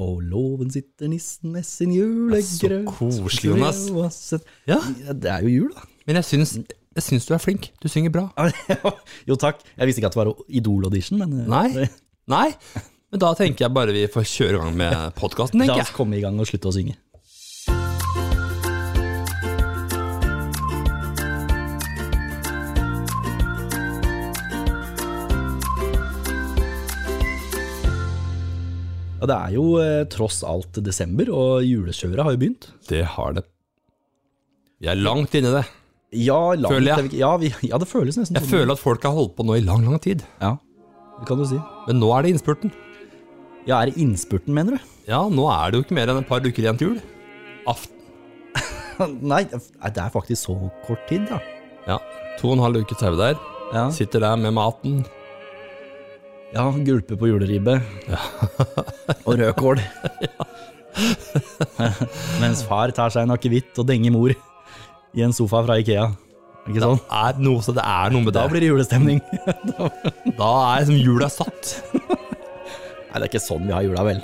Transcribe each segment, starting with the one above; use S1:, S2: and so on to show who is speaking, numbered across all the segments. S1: Og låven sitter nissen med sin julegrøt.
S2: Så koselig, Jonas.
S1: Ja,
S2: Ja.
S1: det er jo jul, da.
S2: Men jeg syns, jeg syns du er flink. Du synger bra.
S1: jo, takk. Jeg visste ikke at det var Idol-audition, men eh,
S2: Nei. Nei. Men da tenker jeg bare vi får kjøre i gang med podkasten,
S1: la
S2: tenker
S1: oss
S2: jeg.
S1: komme i gang og slutte å synge. Ja, Det er jo eh, tross alt desember, og julekjøret har jo begynt.
S2: Det har det. Vi er langt inni det.
S1: Ja, langt,
S2: Føler jeg.
S1: er vi ikke- Ja, vi, ja, det føles nesten
S2: Jeg føler at folk har holdt på nå i lang, lang tid.
S1: Ja, det kan du si.
S2: Men nå er det innspurten.
S1: Ja, er det innspurten, mener du?
S2: Ja, nå er det jo ikke mer enn et par uker igjen til jul. Aften.
S1: Nei, det er faktisk så kort tid, da.
S2: Ja. To og en halv uke tau der.
S1: Ja,
S2: Sitter der med maten.
S1: ja gulpe på juleribbe. og rødkål. Mens far tar seg en akevitt og denger mor i en sofa fra Ikea. Ikke sånn?
S2: Er noe, så det er noe med
S1: Da
S2: det.
S1: blir det julestemning. Nei,
S2: Da er liksom jula satt.
S1: det er ikke sånn vi har jula, vel?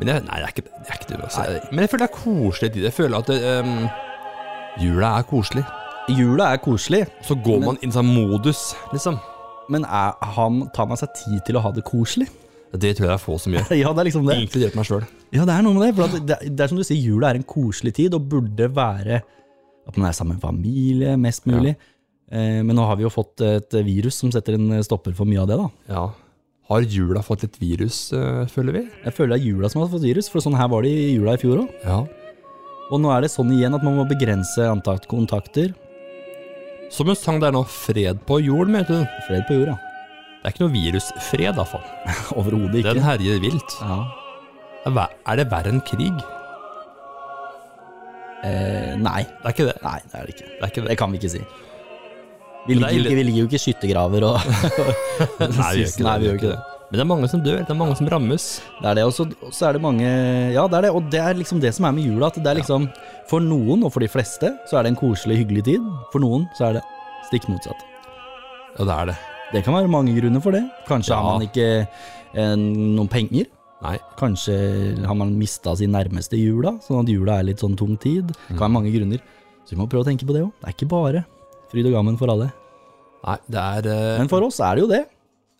S2: Men jeg, nei, det er ikke det. Er ikke det altså. Men jeg føler det er koselig tid. Jeg føler at det, ehm, jula er koselig.
S1: Jula er koselig,
S2: Så går man inn i sånn modus, liksom.
S1: men er, han tar man seg tid til å ha det koselig?
S2: Det tror jeg det er få som gjør.
S1: Ja, det er liksom det.
S2: Inkludert meg sjøl.
S1: Ja, det er noe med det. For at det, det er som du sier, jula er en koselig tid, og burde være at man er sammen med familie mest mulig. Eh, men nå har vi jo fått et virus som setter en stopper for mye av det, da.
S2: Ja. Har jula fått litt virus, eh, føler vi?
S1: Jeg føler det er jula som har fått virus, for sånn her var det i jula i fjor òg.
S2: Ja.
S1: Og nå er det sånn igjen at man må begrense antall kontakter.
S2: Som hun sang der nå, fred på jord, mente hun.
S1: Fred på jorda.
S2: Det er ikke noe virusfred, iallfall.
S1: Overhodet
S2: Den
S1: ikke.
S2: herjer vilt.
S1: Ja.
S2: Er ver- Er det verre enn krig?
S1: Eh, nei.
S2: Det er ikke det.
S1: Nei, det er det ikke.
S2: Det er ikke
S1: Det
S2: det.
S1: kan vi ikke si. Vi
S2: Men det
S1: ligger,
S2: er
S1: jo ikke, vi ligger jo ikke i skyttergraver og
S2: Nei, vi gjør ikke det.
S1: Nei,
S2: vi gjør ikke det. Men det er mange som dør. Det er mange som rammes.
S1: Det er det, og så og så er det mange Ja, det er det, og det er liksom det som er med jula. At det er liksom For noen, og for de fleste, så er det en koselig, hyggelig tid. For noen så er det stikk motsatt.
S2: Ja, det er det.
S1: Det kan være mange grunner for det. Kanskje har
S2: Ja.
S1: man ikke eh, noen penger.
S2: Nei.
S1: Kanskje har man mista sin nærmeste i jula, sånn at jula er litt sånn tung tid. Det
S2: Mm.
S1: kan være mange grunner. Så vi må prøve å tenke på det òg. Det er ikke bare fryd og gammen for alle.
S2: Nei, det er eh,
S1: Men for oss er det jo det.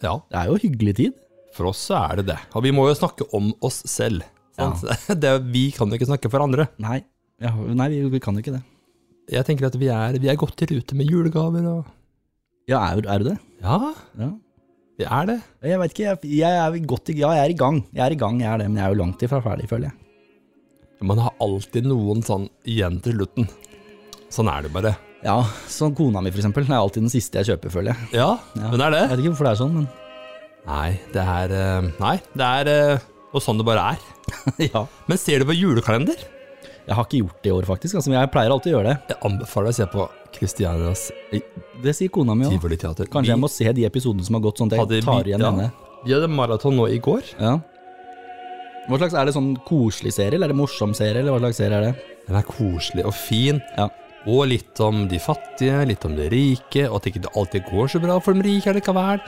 S2: Ja.
S1: Det er jo hyggelig tid.
S2: For oss så er det det. Og vi må jo snakke om oss selv. Sant? Det, vi kan jo ikke snakke for andre.
S1: Nei, ja, nei vi, vi kan jo ikke det.
S2: Jeg tenker at vi er, vi er godt i rute med julegaver og
S1: Ja, er, er du det?
S2: Ja,
S1: Ja.
S2: vi er det.
S1: Jeg vet ikke, jeg, jeg er vel godt i, ja, jeg er i gang. Jeg er i gang, jeg er det, men jeg er jo langt ifra ferdig, føler jeg.
S2: Man har alltid noen sånn igjen til slutten. Sånn er det bare.
S1: Ja, sånn kona mi, for eksempel, er alltid den siste jeg kjøper, føler jeg.
S2: Ja, men det
S1: Jeg
S2: er det.
S1: vet ikke hvorfor det er sånn, men
S2: Nei, det er eh, Nei, det er eh, og sånn det bare er.
S1: ja.
S2: Men ser du på julekalender?
S1: Jeg har ikke gjort det i år, faktisk. Altså, men jeg pleier alltid å gjøre det.
S2: Jeg anbefaler deg å se på Christianias
S1: Det sier kona mi òg.
S2: Tivoliteater.
S1: Kanskje jeg må se de episodene som har gått, sånn at
S2: Hadde
S1: jeg tar
S2: vi-
S1: igjen
S2: ja.
S1: henne.
S2: Vi hadde maraton nå i går.
S1: Ja. Hva slags Er det sånn koselig serie, eller er det morsom serie, eller hva slags serie er det?
S2: Den er koselig og fin.
S1: Ja.
S2: Og litt om de fattige, litt om de rike, og at ikke det alltid går så bra for de rike likevel.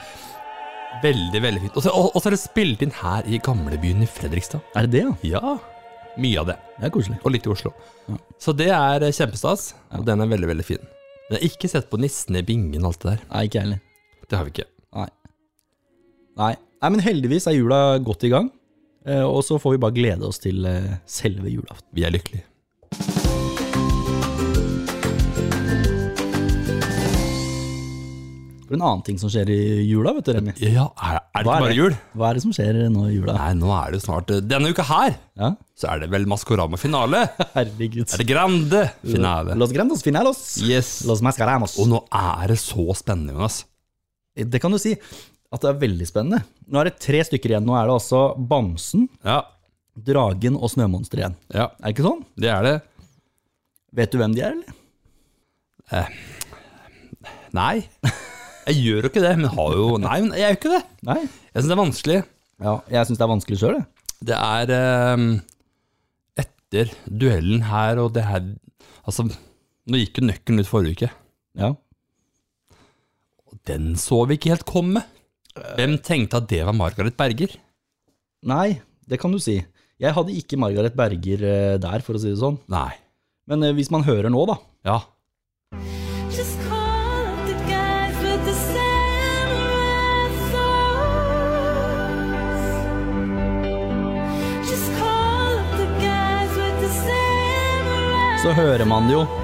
S2: Veldig, veldig fint. Og så- Og og så er det spilt inn her i gamlebyen i Fredrikstad.
S1: Er det det, ja?
S2: Ja, mye av det.
S1: Det er koselig.
S2: Og litt i Oslo. Så det er eh, kjempestas, og den er veldig, veldig fin. Men jeg har ikke sett på Nissen i bingen og alt det der.
S1: Nei, ikke jeg heller.
S2: Det har vi ikke.
S1: Nei. Nei. Nei, men heldigvis er jula godt i gang. eh, Og så får vi bare glede oss til eh, selve julaften.
S2: Vi er lykkelige.
S1: For en annen ting som skjer i jula, vet du, Remi.
S2: Ja, er, er det
S1: Hva
S2: ikke
S1: er
S2: bare jul?
S1: Hva er det som skjer nå i jula?
S2: Nei, nå er det jo snart eh, Denne uka her
S1: Ja?
S2: så er det vel Maskorama-finale.
S1: Herregud.
S2: Er det grande finale?
S1: Los grandos finalos.
S2: Yes.
S1: Los mascaramos.
S2: Og nå er det så spennende, Jonas.
S1: Det kan du si at det er veldig spennende. Nå er det tre stykker igjen. Nå er det altså Bamsen,
S2: Ja,
S1: Dragen og Snømonsteret igjen.
S2: ja,
S1: Er det ikke sånn?
S2: det er det.
S1: Vet du hvem de er, eller?
S2: Nei, jeg gjør jo ikke det, men har jo Nei, men jeg gjør ikke det.
S1: Nei.
S2: Jeg syns det er vanskelig.
S1: Ja, jeg syns det er vanskelig sjøl, jeg.
S2: Det er eh, etter duellen her og det her Altså, nå gikk jo nøkkelen ut forrige uke.
S1: Ja.
S2: Og den så vi ikke helt komme. Hvem tenkte at det var Margaret Berger?
S1: Nei, det kan du si. Jeg hadde ikke Margaret Berger eh, der, for å si det sånn.
S2: Nei.
S1: Men eh, hvis man hører nå, da
S2: Ja.
S3: Just call up the guys with the samurai swords. Just call up the guys with the samurai
S1: så hører man det jo.
S3: swords.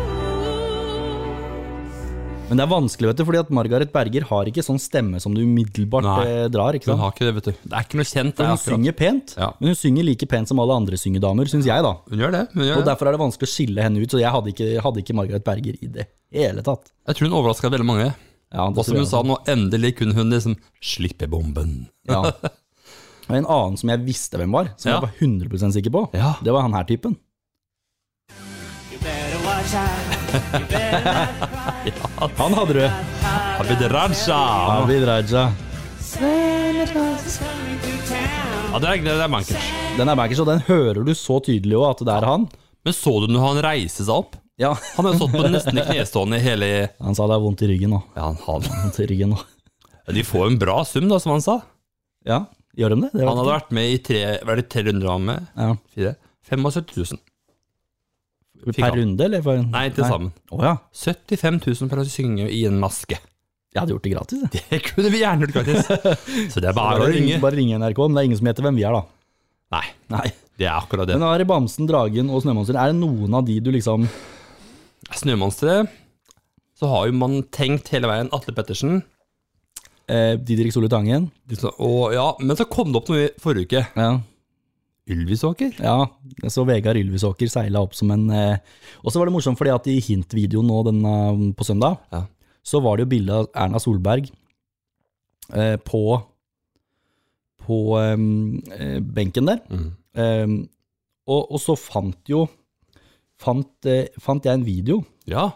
S1: Men det er vanskelig, vet du, fordi at Margaret Berger har ikke sånn stemme som du umiddelbart
S2: Nei.
S1: eh, drar. ikke
S2: Hun
S1: sant?
S2: har ikke det, vet du. Det er ikke noe
S1: For
S2: kjent. det er
S1: hun
S2: akkurat-
S1: synger pent,
S2: Ja.
S1: men hun synger like pent som alle andre syngedamer, syns jeg, da.
S2: Hun gjør det. Hun gjør
S1: Og
S2: det.
S1: derfor er det vanskelig å skille henne ut, så jeg hadde ikke, hadde ikke Margaret Berger i det hele tatt.
S2: Jeg tror hun overraska veldig mange.
S1: Ja, det
S2: Og som
S1: tror
S2: hun
S1: jeg.
S2: sa, nå endelig kunne hun liksom slippe bomben.
S1: Ja. Og en annen som jeg visste hvem var, som
S2: Ja.
S1: jeg var 100 sikker på,
S2: Ja.
S1: det var han her typen. Han hadde du.
S2: Abid Raja!
S1: Abid Raja.
S2: Ja, det er, det er bankers.
S1: Den er bankers, og den hører du så tydelig òg, at det er han.
S2: Men så du når han reiste seg opp?
S1: Ja,
S2: Han har jo stått på nesten i knestående i hele
S1: Han sa det er vondt i ryggen nå.
S2: Ja, han hadde
S1: Vondt i ryggen nå.
S2: De får jo en bra sum, da, som han sa.
S1: Ja, gjør de det? det
S2: Han hadde vært med i tre, var det tre runder han var med?
S1: ja.
S2: Fire? 75 000. Fikk
S1: Per
S2: han.
S1: runde, eller? For...
S2: Nei, til sammen.
S1: Å ja.
S2: 75 000 for å synge i en maske.
S1: Jeg hadde gjort det gratis, jeg.
S2: Det kunne vi gjerne gjort, faktisk. Så det er bare å ringe.
S1: bare ringe NRK, men det er ingen som heter hvem vi er, da.
S2: Nei,
S1: Nei.
S2: det er akkurat det.
S1: Men Ari Bamsen, Dragen og Snømonsteret, er det noen av de du liksom
S2: Snømonsteret, så har jo man tenkt hele veien Atle Pettersen.
S1: eh, Didrik Solli Tangen?
S2: de sa- Og ja, men så kom det opp noe i forrige uke.
S1: Ja.
S2: Ylvisåker?
S1: ja. Så Vegard Ylvisåker seila opp som en eh... Og så var det morsomt fordi at i Hint-videoen nå denne, mm, på søndag,
S2: Ja.
S1: så var det jo bilde av Erna Solberg eh, på på eh, eh, benken der.
S2: Mm.
S1: Eh, og, og så fant jo fant, eh, fant jeg en video
S2: Ja.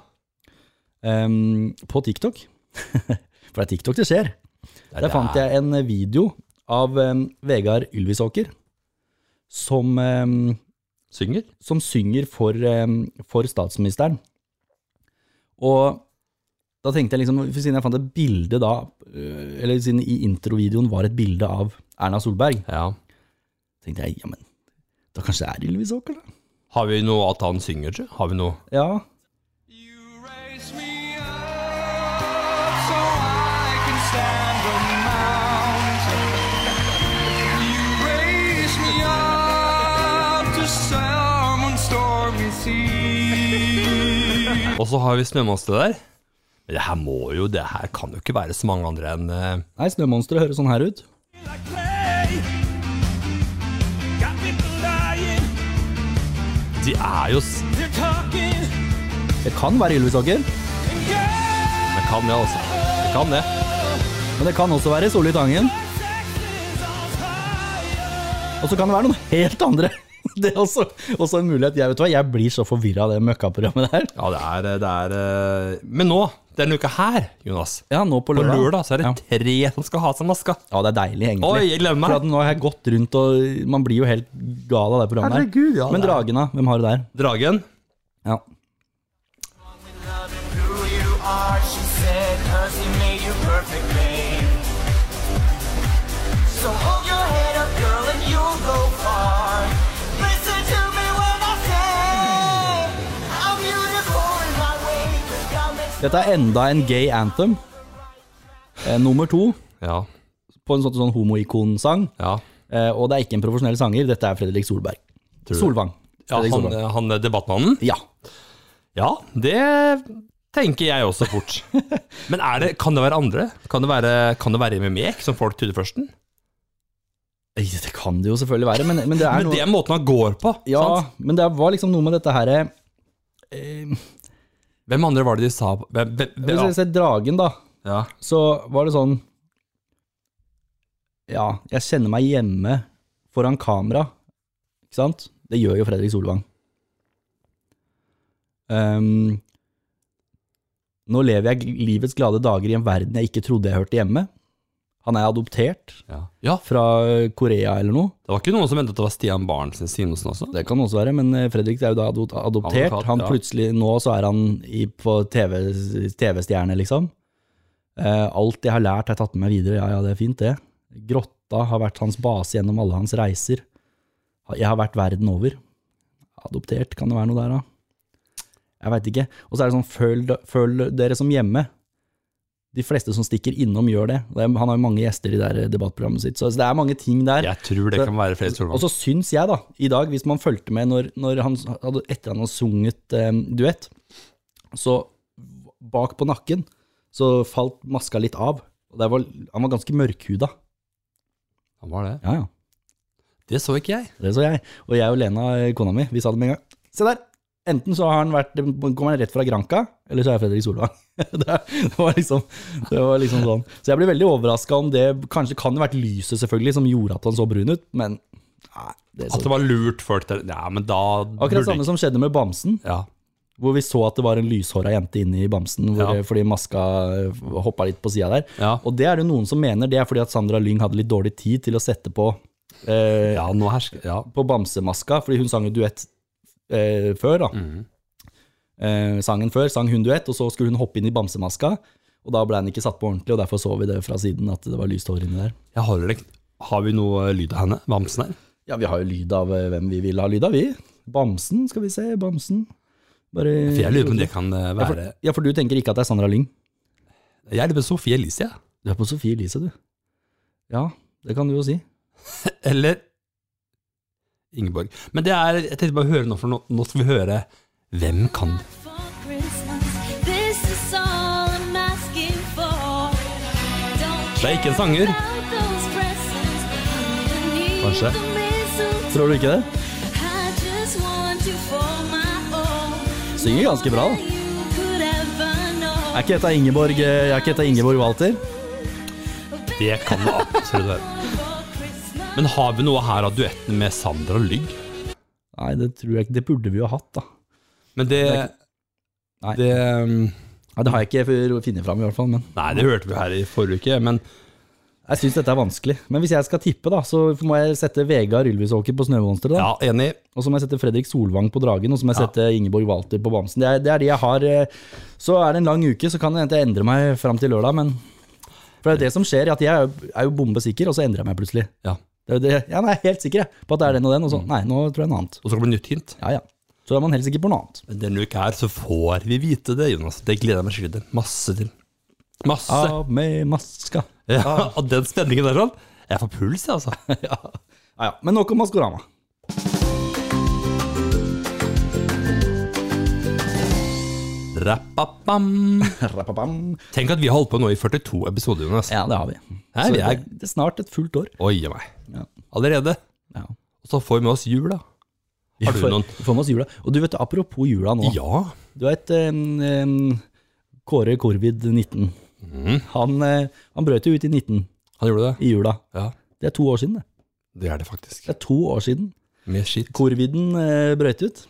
S1: Ehm, på TikTok. For det er TikTok det skjer. Der fant jeg en video av em, Vegard Ylvisåker som, em,
S2: Synger?
S1: som synger for, em, for statsministeren. Og da tenkte jeg liksom, for siden jeg fant et bilde da, øh, eller siden i introvideoen var et bilde av Erna Solberg,
S2: Ja.
S1: tenkte jeg, ja, men da kanskje det er Ylvisåker da?
S2: Har vi noe at han synger, tror jeg? Har vi noe?
S1: Ja,
S4: You raise me up so I can stand the mountain. You raise me up to someone stormy sea.
S2: Og så har vi Snømonsteret der. Men det her må jo, det her kan jo ikke være så mange andre enn eh,
S1: nei, snømonsteret hører sånn her ut.
S4: Like clay, got people lying,
S2: De er jo s-
S4: they're talking,
S1: Det kan være Ylvisåker,
S4: and yeah,
S2: Det kan det, altså. Det kan det.
S1: men det kan også være Solli Tangen.
S4: Texas on fire.
S1: Og så kan det være noen helt andre. Det er også, også en mulighet. Jeg, vet hva, jeg blir så forvirra av det møkkaprogrammet der.
S2: Ja, det er, eh, det er eh, Men nå, denne uka her, Jonas,
S1: Ja, nå på
S2: på
S1: lørdag.
S2: lørdag, så er det
S1: ja.
S2: tre som skal ha seg maska.
S1: ja, det er deilig, egentlig.
S2: Oi, jeg glemmer meg.
S1: For at nå har jeg gått rundt, og man blir jo helt gal av det programmet. her.
S2: Herregud, ja,
S1: Men
S2: det er-
S1: Dragen, da? Hvem har det der?
S2: Dragen.
S1: Ja.
S5: loving who you are, she said, cause he made you perfect, babe. So hold your head up, girl, and you'll go far. Listen to me when I say, I'm beautiful in my way, cause God makes
S1: Dette er enda en gay anthem. Eh, nummer to
S2: Ja.
S1: på en sånn, sånn homoikonsang.
S2: Ja.
S1: Eh, og det er ikke en profesjonell sanger, dette er Fredrik Solberg. Solvang.
S2: ja
S1: Fredrik
S2: han, eh,
S1: Solvang.
S2: han debattmannen.
S1: Ja.
S2: Ja, det tenker jeg også fort. Men er det, kan det være andre? Kan det være, kan det være MMEK, som folk trodde først? den?
S1: Ei, Det kan det jo selvfølgelig være, men, men det er
S2: Men
S1: noe
S2: det er måten han går på.
S1: Ja,
S2: sant?
S1: men det var liksom noe med dette her eh,
S2: Hvem andre var det de sa hvem, hvem,
S1: Hvis
S2: ja.
S1: jeg ser dragen, da,
S2: Ja.
S1: så var det sånn Ja, jeg kjenner meg hjemme foran kamera, ikke sant? Det gjør jo Fredrik Solvang. Ehm, nå lever jeg livets glade dager i en verden jeg ikke trodde jeg hørte hjemme. Han er adoptert
S2: Ja. ja,
S1: fra eh, Korea eller noe.
S2: det var ikke noen som ventet at det var Stian Barnsen Simonsen også?
S1: Det kan også være, men eh, Fredrik er jo da adot- adoptert.
S2: Advokat,
S1: han
S2: ja.
S1: plutselig, nå så er han i, på TV TV-stjerne, liksom. Eh, alt jeg har lært, har jeg tatt med meg videre. Ja, ja, det er fint, det. Grotta har vært hans base gjennom alle hans reiser. Jeg har vært verden over. Adoptert, kan det være noe der, da? Jeg veit ikke. Og så er det sånn, føl, føl dere som hjemme. De fleste som stikker innom, gjør det. Det er- Han har jo mange gjester i det der debattprogrammet sitt, så så det er mange ting der.
S2: Jeg tror det
S1: Så-
S2: kan være Fred Solvang.
S1: Og så syns jeg, da, i dag, hvis man fulgte med når, når han hadde, etter han hadde sunget eh, duett, så bak på nakken så falt maska litt av. Og det var, han var ganske mørkhuda.
S2: Han var det.
S1: Ja, ja.
S2: Det så ikke jeg.
S1: Det så jeg. Og jeg og Lena, eh, kona mi, vi sa det med en gang. Se der! Enten så har han vært, eh, kommer han rett fra Granca, eller så er Fredrik Solvang. Det, er- det, var liksom, det var liksom sånn. Så jeg blir veldig overraska om det Kanskje kan det vært lyset selvfølgelig som gjorde at han så brun ut, men nei, det
S2: At
S1: så,
S2: det var lurt folk der. Ja, men da burde
S1: Akkurat samme
S2: ikke-
S1: som skjedde med bamsen.
S2: Ja.
S1: Hvor vi så at det var en lyshåra jente inne i bamsen hvor,
S2: Ja.
S1: fordi maska hoppa litt på sida der.
S2: Ja.
S1: Og det er det noen som mener det er fordi at Sandra Lyng hadde litt dårlig tid til å sette på, eh,
S2: ja, nå hersker Ja.
S1: på bamsemaska, fordi hun sang jo duett eh, før. da. Eh, sangen før sang hun duett, og så skulle hun hoppe inn i bamsemaska. Og da ble den ikke satt på ordentlig, og derfor så vi det fra siden at det var lyst hår inni der.
S2: Jeg har, det- har vi noe lyd av henne? Bamsen her?
S1: Ja, vi har jo lyd av eh, hvem vi vil ha lyd av, vi. Bamsen, skal vi se. Bamsen. Bare
S2: For jeg lurer på om det kan eh,
S1: Ja, for,
S2: være
S1: ja, for du tenker ikke at det er Sandra Lyng?
S2: Jeg lurer på Sofie Elise, jeg.
S1: Du er på Sofie Elise, du. Ja, det kan du jo si.
S2: Eller Ingeborg. Men det er Jeg tenkte bare å høre nå, for nå, nå skal vi høre Hvem kan
S3: for Christmas. This is all I'm asking for. Don't
S2: Det er ikke en sanger.
S3: care about those presents underneath
S2: Kanskje.
S3: the mistletoe.
S1: Tror du ikke det?
S3: I just want you for my own.
S1: Synger ganske bra, da.
S3: More than you could ever know.
S1: Er ikke dette Ingeborg, eh, er ikke dette Ingeborg Walter?
S2: Det kan det absolutt være.
S3: For Christmas.
S2: Men har vi noe her av duetten med Sandra Lygg?
S1: Nei, det tror jeg ikke. Det burde vi jo ha hatt, da.
S2: Men det
S1: Nei.
S2: det, um,
S1: Ja, det har jeg ikke for- funnet fram, i hvert fall. Men
S2: nei, det hørte vi her i forrige uke, men
S1: jeg syns dette er vanskelig. Men hvis jeg skal tippe, da, så må jeg sette Vegard Ylvisåker på Snømonsteret. da.
S2: ja, enig.
S1: Og så må jeg sette Fredrik Solvang på Dragen, og så må jeg
S2: Ja.
S1: sette Ingeborg Walter på Bamsen. Det er, det er de jeg har. eh, Så er det en lang uke, så kan det hende jeg endrer meg fram til lørdag, men For det er jo det som skjer, at jeg er jo- er jo bombesikker, og så endrer jeg meg plutselig.
S2: Ja.
S1: Det er jo det, ja, nei, jeg er helt sikker jeg, på at det er den og den, og så nei, nå tror jeg noe annet.
S2: Og så kommer det nytt hint.
S1: Ja, ja. Så er man helt sikker på noe annet.
S2: Men denne uka her så får vi vite det, Jonas. Det gleder jeg meg skikkelig til. Masse til. Masse.
S1: Av med maska.
S2: Ja, og den spenningen der sånn. Jeg får puls, jeg, altså.
S1: Ja, ja. Men nok om Maskorama.
S2: Rappapam.
S1: Rappapam.
S2: Tenk at vi har holdt på nå i 42 episoder, Jonas.
S1: Ja, det har vi.
S2: Her,
S1: Så
S2: vi er,
S1: det, det er snart et fullt år.
S2: oi a meg.
S1: Ja.
S2: Allerede.
S1: Ja.
S2: Og så får vi med oss jul, da. Har du
S1: Vi får-
S2: noen?
S1: vi Får med oss jula. Og du vet, apropos jula nå.
S2: Ja.
S1: Du vet em, em, Kåre Korvid 19. Han, eh, han brøt jo ut i 19
S2: Han gjorde det.
S1: i jula.
S2: Ja,
S1: Det er to år siden, det.
S2: det er det faktisk.
S1: Det er to år siden
S2: Med skitt.
S1: Korviden eh, brøt ut.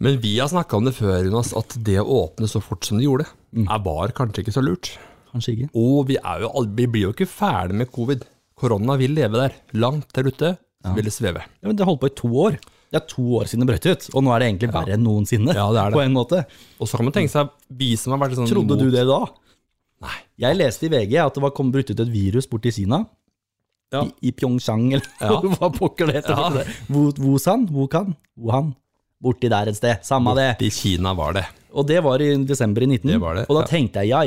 S2: Men vi har snakka om det før, Jonas, at det å åpne så fort som det gjorde,
S1: Mm.
S2: er var kanskje ikke så lurt.
S1: Kanskje ikke.
S2: Og vi, er jo, al- vi blir jo ikke ferdig med covid. Korona vil leve der. Langt der ute så vil det sveve.
S1: Ja, men Det holdt på i to år. Det er to år siden det brøt ut, og nå er det egentlig verre enn noensinne.
S2: Ja, det er det.
S1: På en måte.
S2: Og så kan man tenke seg, vi som har vært sånn
S1: Trodde du det da?
S2: Nei.
S1: Jeg leste i VG at det var kommet brutt ut et virus borti Kina.
S2: Ja.
S1: I, I Pyeongchang, eller
S2: Ja.
S1: hva pokker det heter.
S2: Ja.
S1: det. Wo- Wusan? Wukan? Wuhan? Borti der et sted. Samme det.
S2: I Kina var det.
S1: Og det var i desember i 19.
S2: Det var det,
S1: og da
S2: ja.
S1: tenkte jeg ja,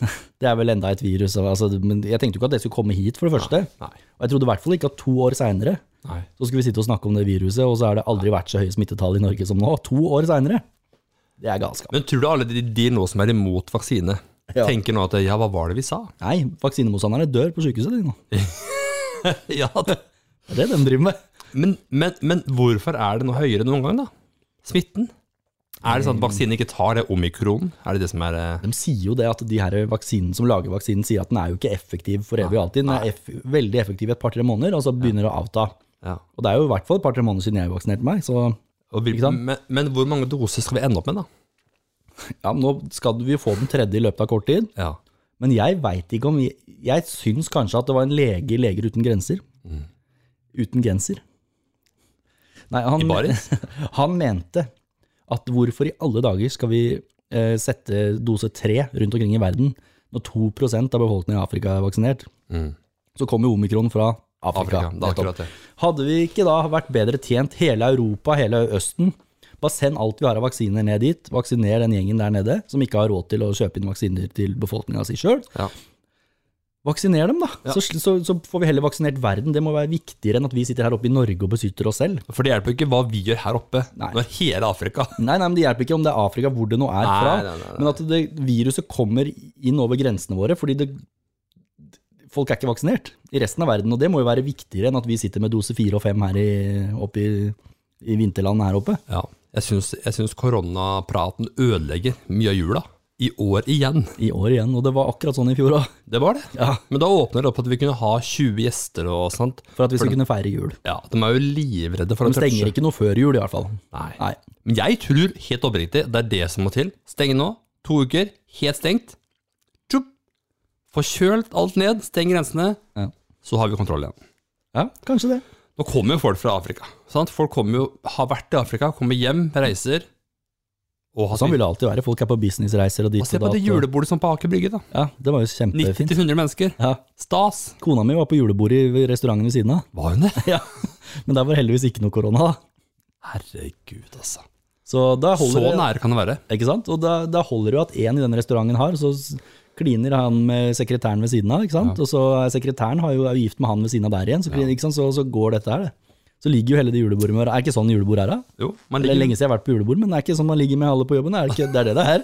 S1: ja. Det er vel enda et virus. og Altså, men jeg tenkte jo ikke at det skulle komme hit, for det første.
S2: Nei.
S1: Og jeg trodde i hvert fall ikke at to år seinere
S2: Nei.
S1: så skulle vi sitte og snakke om det viruset, og så er det aldri vært så høye smittetall i Norge som nå. To år seinere. Det er galskap.
S2: Men tror du alle de, de nå som er imot vaksine,
S1: Ja.
S2: tenker nå at ja, hva var det vi sa?
S1: Nei, vaksinemotstanderne dør på sykehuset de nå.
S2: ja, det.
S1: Det er det de driver med.
S2: Men, men, men hvorfor er det nå høyere enn noen gang, da? Smitten? Er det sånn at vaksinen ikke tar det omikronen? Er det det som er eh,
S1: De sier jo det at de her vaksinen som lager vaksinen, sier at den er jo ikke effektiv for evig og alltid. Den er eff veldig effektiv i et par-tre måneder, og så begynner det å avta.
S2: ja.
S1: Og det er jo i hvert fall et par-tre måneder siden jeg vaksinerte meg, så
S2: Og hvil-
S1: Ikke sant?
S2: men, men hvor mange doser skal vi ende opp med, da?
S1: ja, men nå skal vi jo få den tredje i løpet av kort tid.
S2: Ja.
S1: Men jeg veit ikke om Jeg, jeg syns kanskje at det var en lege i Leger uten grenser.
S2: Mm.
S1: Uten genser. Nei, han,
S2: I baris?
S1: han mente at hvorfor i alle dager skal vi eh, sette dose tre rundt omkring i verden når 2 av befolkningen i Afrika er vaksinert? Så kommer jo omikron fra Afrika.
S2: Mm. Afrika, det er
S1: nettopp.
S2: akkurat det.
S1: Hadde vi ikke da vært bedre tjent hele Europa, hele Østen? Bare send alt vi har av vaksiner ned dit. Vaksiner den gjengen der nede som ikke har råd til å kjøpe inn vaksiner til befolkninga si sjøl.
S2: Ja.
S1: Vaksiner dem, da. Så, så, så får vi heller vaksinert verden. Det må være viktigere enn at vi sitter her oppe i Norge og beskytter oss selv.
S2: For det hjelper jo ikke hva vi gjør her oppe,
S1: Nei.
S2: når hele Afrika
S1: Nei, nei, men Det hjelper ikke om det er Afrika, hvor det nå er
S2: Nei,
S1: fra.
S2: nei, nei, nei.
S1: Men at det, viruset kommer inn over grensene våre fordi det, folk er ikke vaksinert i resten av verden. Og det må jo være viktigere enn at vi sitter med dose fire og fem her i, oppe i, i vinterlandet her oppe.
S2: Ja, jeg syns, jeg syns koronapraten ødelegger mye av jula. I år igjen.
S1: I år igjen. Og det var akkurat sånn i fjor òg.
S2: Det var det.
S1: Ja.
S2: Men da åpner det opp at vi kunne ha 20 gjester og sånt.
S1: For at vi skal kunne feire jul.
S2: Ja, De er jo livredde for
S1: De
S2: å touche.
S1: stenger ikke noe før jul, i hvert fall.
S2: Nei.
S1: Nei.
S2: Men jeg tror helt oppriktig det er det som må til. Stenge nå. To uker. Helt stengt. Tjup. Få kjølt alt ned. Steng grensene.
S1: Ja.
S2: Så har vi kontroll igjen.
S1: Ja, kanskje det.
S2: Nå kommer jo folk fra Afrika. Sant? Folk kommer jo, har vært i Afrika, kommer hjem, reiser. Og har
S1: Sånn vil det alltid være. Folk er på businessreiser og dit
S2: Og se
S1: og
S2: på det
S1: datt, og-
S2: julebordet som på Aker Brygge, da.
S1: Ja, det var jo
S2: 90
S1: kjempefint.
S2: 100 mennesker.
S1: Ja.
S2: Stas.
S1: Kona mi var på julebordet i restauranten ved siden av.
S2: Var hun det?
S1: Ja. Men der var heldigvis ikke noe korona, da.
S2: Herregud, altså.
S1: Så da holder
S2: Så
S1: det-
S2: nære kan det være.
S1: Ikke sant? Og da, da holder det jo at én i denne restauranten har, så s- kliner han med sekretæren ved siden av, ikke sant? og så er sekretæren har jo, er jo gift med han ved siden av der igjen, så, klin- ikke sant? Så, så går dette her, det. Så ligger jo hele det julebordet med Er ikke sånn julebord er, da?
S2: Jo, man
S1: Det er lenge
S2: ligger,
S1: siden jeg har vært på julebord, men det er ikke sånn man ligger med alle på jobben. Er det, ikke, det er det det er.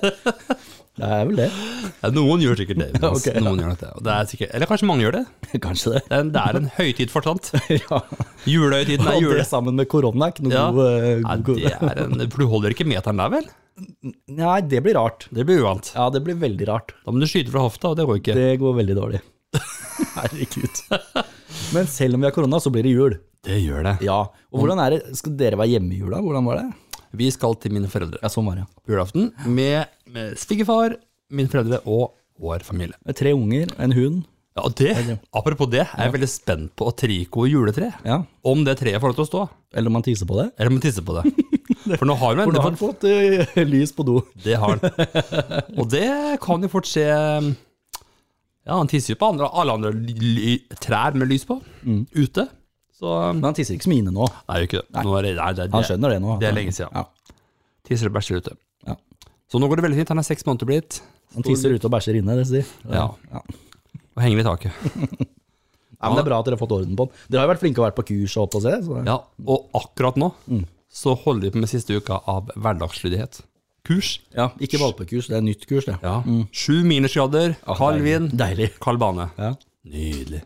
S1: Det er vel det.
S2: ja, noen gjør sikkert det. men
S1: Ok, ja.
S2: Noen gjør nok det. Og det er sikkert, eller kanskje mange gjør det.
S1: Kanskje det.
S2: Det er en, det er en høytid for sånt.
S1: Ja.
S2: Julehøytiden er
S1: Og
S2: jule...
S1: det sammen med korona er ikke noe
S2: Ja.
S1: god, eh,
S2: Ja,
S1: god,
S2: det er en, for du holder ikke meteren der, vel?
S1: Nei, det blir rart.
S2: Det blir uvant.
S1: Ja, det blir veldig rart.
S2: Da må du skyte fra hofta, og det går ikke.
S1: Det går veldig dårlig. Herregud. Men selv om vi har korona, så blir det jul.
S2: Det gjør det.
S1: Ja, og hvordan er det, Skal dere være hjemme i jula? Hvordan var det?
S2: Vi skal til mine foreldre
S1: Ja, sånn var det. ja.
S2: på julaften med, med svigerfar, mine foreldre og vår familie.
S1: Det er Tre unger, en hund.
S2: Ja, og det, apropos det, er jeg veldig spent på Trico juletre.
S1: Ja.
S2: Om det treet får lov til å stå,
S1: Eller om man tisser på det.
S2: eller om man tisser på det. For nå har vi
S1: For nå
S2: endelig
S1: har han
S2: fått
S1: fått eh, lys på do.
S2: Det har han. Og det kan jo fort skje um, Ja, han tisser jo på andre, alle andre ly, trær med lys på
S1: Mm.
S2: ute. Så um,
S1: Men han tisser ikke som inne nå.
S2: Nei, gjør ikke det. Nå er det, nei, det,
S1: Han skjønner det nå.
S2: Det er lenge siden.
S1: Ja.
S2: Tisser og bæsjer ute.
S1: Ja.
S2: Så nå går det veldig fint. Han er seks måneder blitt.
S1: Han tisser ute og bæsjer inne, det sier.
S2: Ja.
S1: Ja.
S2: Og henger i taket.
S1: Ja, men det er bra at dere har fått orden på den. Dere har jo vært flinke og vært på kurs og opp og se. Så.
S2: Ja, og akkurat nå
S1: Mm.
S2: så holder vi på med siste uka av hverdagslydighet. Kurs.
S1: Ja, ikke valpekurs, det er nytt kurs, det.
S2: Ja. Sju minusgrader, kald vind,
S1: Deilig.
S2: kald bane.
S1: Ja.
S2: Nydelig.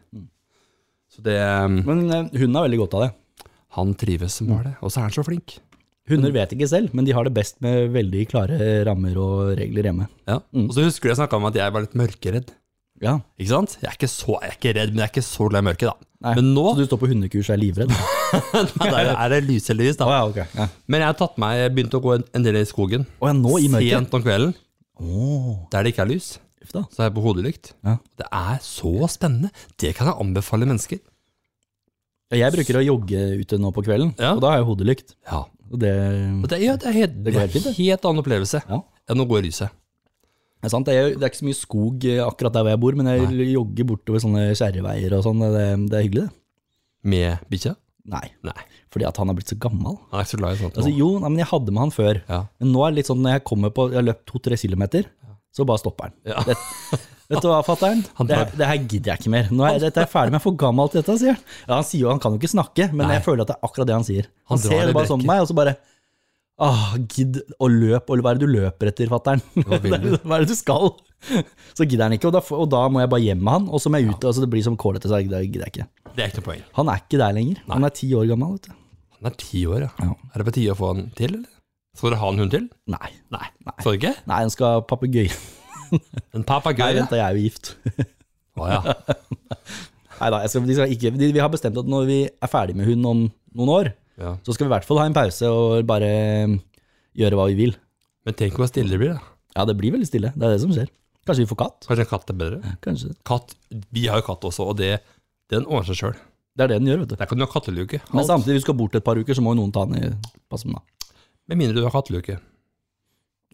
S2: Så det um,
S1: Men eh, hunden har veldig godt av det.
S2: Han trives som bare det. Og så er han så flink.
S1: Hunder vet ikke selv, men de har det best med veldig klare rammer og regler hjemme.
S2: Ja.
S1: Mm.
S2: Og så husker du jeg snakka om at jeg var litt mørkeredd.
S1: Ja.
S2: Ikke sant? Jeg er ikke så jeg er ikke redd, men jeg er ikke så glad i mørket, da.
S1: Nei.
S2: Men nå
S1: Så du står på hundekurs og er livredd?
S2: der er det lyse lys, da.
S1: Å ja, ok. Ja.
S2: Men jeg har tatt meg, jeg begynte å gå en, en del i skogen.
S1: Å ja, nå i mørket?
S2: Sent om kvelden, der det ikke er lys.
S1: Uff da.
S2: Så er jeg på hodelykt.
S1: Ja.
S2: Det er så spennende. Det kan jeg anbefale mennesker.
S1: Ja, Jeg bruker å jogge ute nå på kvelden,
S2: Ja.
S1: og da har jeg hodelykt.
S2: Ja.
S1: Og det
S2: Og det, ja, det er helt,
S1: Det går helt fint, det.
S2: helt annen opplevelse
S1: Ja.
S2: enn å gå i lyset.
S1: er sant. Det er, det er ikke så mye skog eh, akkurat der hvor jeg bor, men jeg jogger bortover sånne kjerreveier og sånn. Det, det er hyggelig, det.
S2: Med bikkja?
S1: Nei,
S2: Nei.
S1: fordi at han har blitt så gammel.
S2: Han er ikke så glad i sånt. nå.
S1: Altså, jo, nei, men jeg hadde med han før.
S2: Ja.
S1: Men nå er det litt sånn når jeg kommer på Jeg har løpt to-tre kilometer, så bare stopper han.
S2: Ja.
S1: Det, vet du hva, fatter'n?
S2: Han
S1: Det,
S2: drar.
S1: her- det her gidder jeg ikke mer. Nå er, dette er jeg ferdig med, jeg er for gammel til dette, sier han. Ja, han sier jo han kan jo ikke snakke, men jeg føler at det er akkurat det han sier.
S2: Han
S1: Han,
S2: drar
S1: ser
S2: det
S1: bare sånn på meg, og så bare Åh, gidd å løp, og hva er det du løper etter, fatter'n? Hva,
S2: vil du?
S1: er det du skal? Så gidder han ikke, og da, f- og da må jeg bare hjem med han, og så må jeg ut, altså det blir som kålete, så jeg- det gidder jeg ikke.
S2: Det er ikke noe poeng.
S1: Han er ikke der lenger. Han er ti år gammel, vet du.
S2: Han er ti år, ja.
S1: Ja.
S2: Er det på tide å få han til, eller? Skal dere ha en hund til?
S1: Nei.
S2: Nei. Skal dere ikke?
S1: Nei, han skal ha papegøye. Nei,
S2: En papegøye?
S1: vent, da, jeg er jo gift.
S2: Å ja.
S1: Neida, jeg skal, de skal ikke, de, vi har bestemt at når vi er ferdig med hund om noen år,
S2: Ja.
S1: så skal vi i hvert fall ha en pause og bare mm, gjøre hva vi vil.
S2: Men tenk hvor stille det blir, da.
S1: Ja, det blir veldig stille. Det er det som skjer. Kanskje vi får katt?
S2: Kanskje en katt er bedre?
S1: Kanskje.
S2: Katt, Vi har jo katt også, og det, den ordner seg sjøl.
S1: Det er det den gjør, vet du.
S2: Der kan du ha katteluke.
S1: Men
S2: Alt.
S1: samtidig, hvis du skal bort et par uker, så må jo noen ta den i pass med den, da.
S2: Med mindre du har katteluke.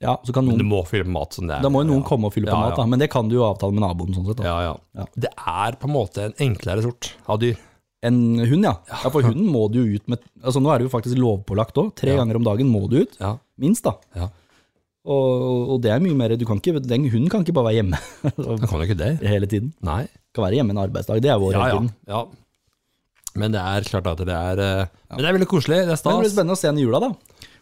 S1: Ja, så kan
S2: Men du
S1: noen,
S2: må fylle med mat som det er.
S1: da må jo noen
S2: ja.
S1: komme og fylle på
S2: Ja,
S1: mat, da. Men det kan du jo avtale med naboen, sånn sett. Da.
S2: Ja, ja,
S1: Ja.
S2: Det er på en måte en enklere sort av dyr.
S1: En hund, ja. ja. For hunden må du jo ut med altså Nå er det jo faktisk lovpålagt òg. Tre ganger om dagen må du ut.
S2: Ja.
S1: Minst, da.
S2: Ja.
S1: Og, og det er mye mer du kan ikke, den Hunden kan ikke bare være hjemme
S2: Da kan jo ikke det.
S1: hele tiden.
S2: Nei.
S1: Kan være hjemme en arbeidsdag. Det er vår
S2: Ja,
S1: hele
S2: ja,
S1: tiden.
S2: ja. Men det er klart at det er eh, Men det er veldig koselig. Det er
S1: Men det blir
S2: stas.
S1: spennende å se den i jula, da.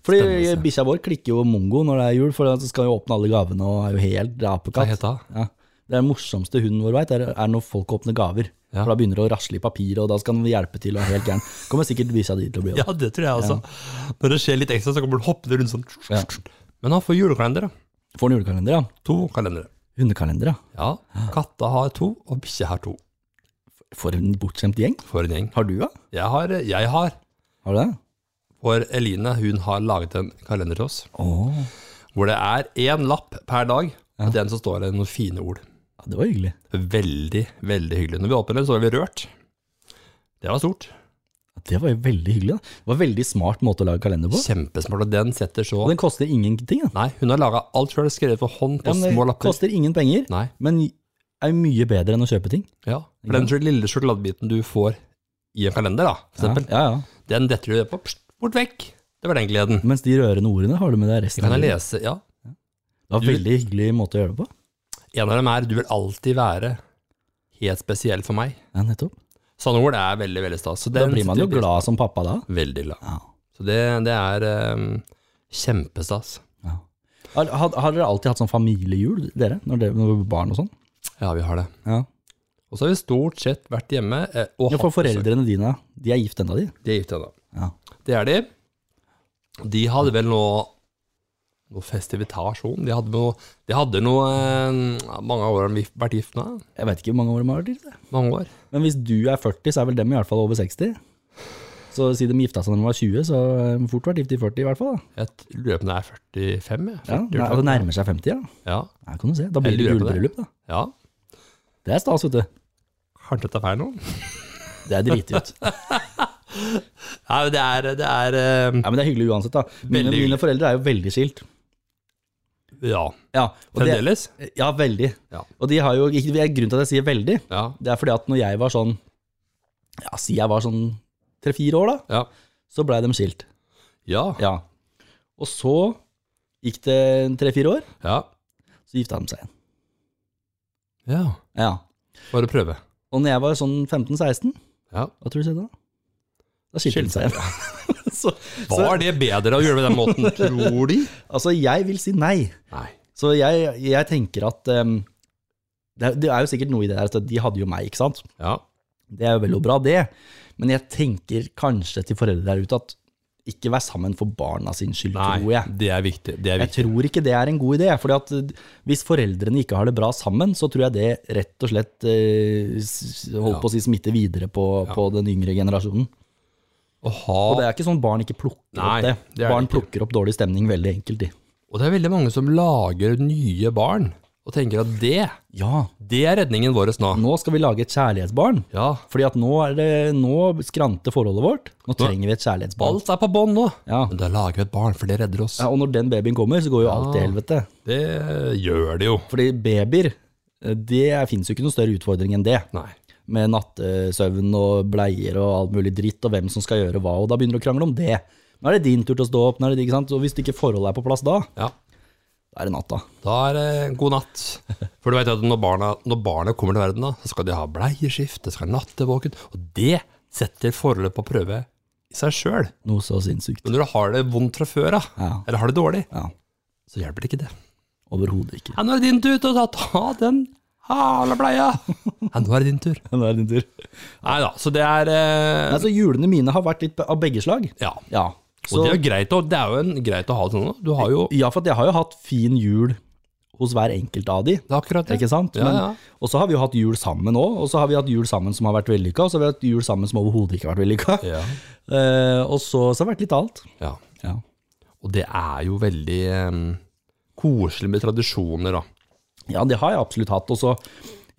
S1: Fordi
S2: Spennende å se.
S1: bikkja vår klikker jo mongo når det er jul, for den skal jo åpne alle gavene og er jo helt
S2: Hva
S1: apekatt.
S2: het det?
S1: Ja. Det er den morsomste hunden vår veit, er, er når folk åpner gaver.
S2: Ja.
S1: For da begynner det å rasle i papiret, og da skal den hjelpe til og er helt gæren. Kommer sikkert bikkja di til å bli
S2: Ja,
S1: det.
S2: det tror jeg også. Når det skjer litt ekstra, så kommer den hoppende rundt sånn.
S1: Ja.
S2: Men han får julekalender, da.
S1: Får den julekalender, ja.
S2: To kalendere.
S1: Hundekalender, ja.
S2: Ja. Katta har to, og bikkja har to.
S1: For en bortskjemt gjeng.
S2: For en gjeng.
S1: Har du, ja?
S2: Jeg har, jeg har
S1: Har du det?
S2: for Eline hun har laget en kalender til oss,
S1: Åh,
S2: hvor det er én lapp per dag, og i den så står det noen fine ord.
S1: ja, det var hyggelig.
S2: Veldig, veldig hyggelig. Når vi åpner den, så er vi rørt. Det var stort.
S1: Ja, Det var jo veldig hyggelig. da. Det var en veldig smart måte å lage kalender på.
S2: Kjempesmart. Og den setter så
S1: Og den koster ingenting, da.
S2: Nei, hun har laga alt sjøl, skrevet for hånd på
S1: Ja, men
S2: små
S1: det
S2: lapper.
S1: koster ingen penger,
S2: Nei,
S1: men er jo mye bedre enn å kjøpe ting.
S2: ja. For den sjøl- lille sjokoladebiten du får i en kalender, da, for
S1: Ja,
S2: eksempel,
S1: ja, ja.
S2: den detter du ned på. Pst, bort vekk. Det var den gleden.
S1: Mens de rørende ordene har du med deg resten
S2: Kan
S1: av
S2: jeg
S1: livet.
S2: lese? Ja.
S1: Det var
S2: Du-
S1: en veldig hyggelig måte å gjøre det på.
S2: En av dem er 'Du vil alltid være helt spesiell for meg'.
S1: Ja, nettopp.
S2: Sånne ord er veldig, veldig stas. Så
S1: Da
S2: den
S1: blir man
S2: setter
S1: jo
S2: vi pris
S1: glad som pappa da.
S2: på. Veldig glad.
S1: Ja.
S2: Så det, det er ehm, kjempestas.
S1: Har, har har dere alltid hatt sånn familiejul, dere? Når dere når dere var barn og sånn?
S2: Ja, vi har det.
S1: Ja.
S2: Og så har vi stort sett vært hjemme. eh, og
S1: ja, for
S2: hatt besøk.
S1: foreldrene dine, de er gift ennå, de?
S2: De er gift ennå.
S1: Ja.
S2: Det er de. De hadde vel noe noe festivitasjon. De hadde noe, de hadde noe eh, Mange år har de vært gift nå.
S1: Jeg vet ikke hvor mange år de har vært gift. jeg.
S2: Mange år.
S1: Men hvis du er 40, så er vel dem i hvert fall over 60? Så si de gifta seg da de var 20, så har de fort vært gift i 40 i hvert fall. da.
S2: Jeg t- lurer på om det er 45, jeg.
S1: Ja,
S2: 40,
S1: nei, og det nærmer seg 50, ja.
S2: ja.
S1: Ja, kan du se. Da blir det
S2: Jeg lurer på det.
S1: julebryllup, da.
S2: ja.
S1: Det er stas, vet du.
S2: Kanskje jeg tar feil nå?
S1: Det er driti ut. Ja,
S2: Nei, men det er, det er eh,
S1: men det er hyggelig uansett, da. Mine,
S2: Veldig hyggelig.
S1: mine foreldre er jo veldig skilt.
S2: Ja.
S1: Ja, og det,
S2: Fremdeles?
S1: ja veldig.
S2: Ja.
S1: Og de har jo, ikke- det er grunnen til at jeg sier veldig,
S2: Ja.
S1: det er fordi at når jeg var sånn, ja, si jeg var sånn tre-fire år da,
S2: Ja.
S1: så ble de skilt.
S2: Ja.
S1: Ja. Og så gikk det tre-fire år,
S2: ja.
S1: så gifta de seg igjen.
S2: ja.
S1: Ja.
S2: Bare prøve.
S1: Og når jeg var sånn 15-16,
S2: Ja.
S1: hva tror du skjedde da? Da skilte de
S2: Skilte
S1: seg igjen. så,
S2: Var det bedre å gjøre det på den måten, tror de?
S1: altså, jeg vil si nei.
S2: Nei.
S1: Så jeg, jeg tenker at em, det, er, det er jo sikkert noe i det der at de hadde jo meg, ikke sant?
S2: Ja.
S1: Det er jo vel og bra, det. Men jeg tenker kanskje til foreldre der ute at ikke vær sammen for barna sin skyld, tror
S2: Nei,
S1: jeg.
S2: det er viktig. Det er
S1: Jeg
S2: viktig.
S1: tror ikke det er en god idé, fordi at eh, hvis foreldrene ikke har det bra sammen, så tror jeg det rett og slett eh, s- holdt
S2: Ja.
S1: på å si smitter videre på, på den yngre generasjonen.
S2: Å ha
S1: Og det er ikke sånn barn ikke plukker
S2: Nei,
S1: opp det.
S2: det er det
S1: barn
S2: ikke.
S1: plukker opp dårlig stemning veldig enkelt, de.
S2: Og det er veldig mange som lager nye barn og tenker at det,
S1: Ja,
S2: det er redningen vår nå.
S1: nå skal vi lage et kjærlighetsbarn.
S2: Ja,
S1: Fordi at nå, er det, nå skranter forholdet vårt. Nå trenger vi et kjærlighetsbarn.
S2: alt er på bånn nå.
S1: Ja.
S2: Men da lager vi et barn, for det redder oss.
S1: Ja, og når den babyen kommer, så går jo alt
S2: Ah.
S1: til helvete.
S2: Det gjør det jo.
S1: Fordi babyer, eh, det fins jo ikke noen større utfordring enn det.
S2: Nei.
S1: Med nattesøvn og bleier og alt mulig dritt, og hvem som skal gjøre hva, og da begynner du å krangle om det. Nå er det din tur til å stå opp, nå er det, ikke sant? og hvis ikke forholdet er på plass da,
S2: Ja,
S1: da er det natta.
S2: da er det god natt. For du vet at når barna, når barna kommer til verden, da, så skal de ha bleieskift, det skal være nattevåken, og det setter forholdet på prøve i seg sjøl.
S1: Noe så sinnssykt.
S2: Men når du har det vondt fra før, da,
S1: Ja.
S2: eller har det dårlig,
S1: Ja,
S2: så hjelper det ikke det.
S1: Overhodet ikke.
S2: Ja, nå er det din tur til å ta, ta den hala bleia. Ja, nå er det din tur.
S1: Nå er det din tur.
S2: Nei da, så det er eh,
S1: Nei, så Julene mine har vært litt av begge slag.
S2: Ja.
S1: Ja,
S2: Og
S1: Altså, så,
S2: det er jo greit, å- det er jo en, greit å ha det sånn. da. Du har jo
S1: ja for at jeg har jo hatt fin jul hos hver enkelt av de.
S2: det er akkurat det.
S1: Ikke sant?
S2: Ja,
S1: Men,
S2: ja.
S1: Og så har vi jo hatt jul sammen òg, og så har vi hatt jul sammen som har vært vellykka, og så har vi hatt jul sammen som overhodet ikke har vært vellykka.
S2: Ja.
S1: Eh, og så, så har det vært litt av alt.
S2: Ja.
S1: Ja.
S2: Og det er jo veldig eh, koselig med tradisjoner, da.
S1: det har jeg absolutt hatt. Og så,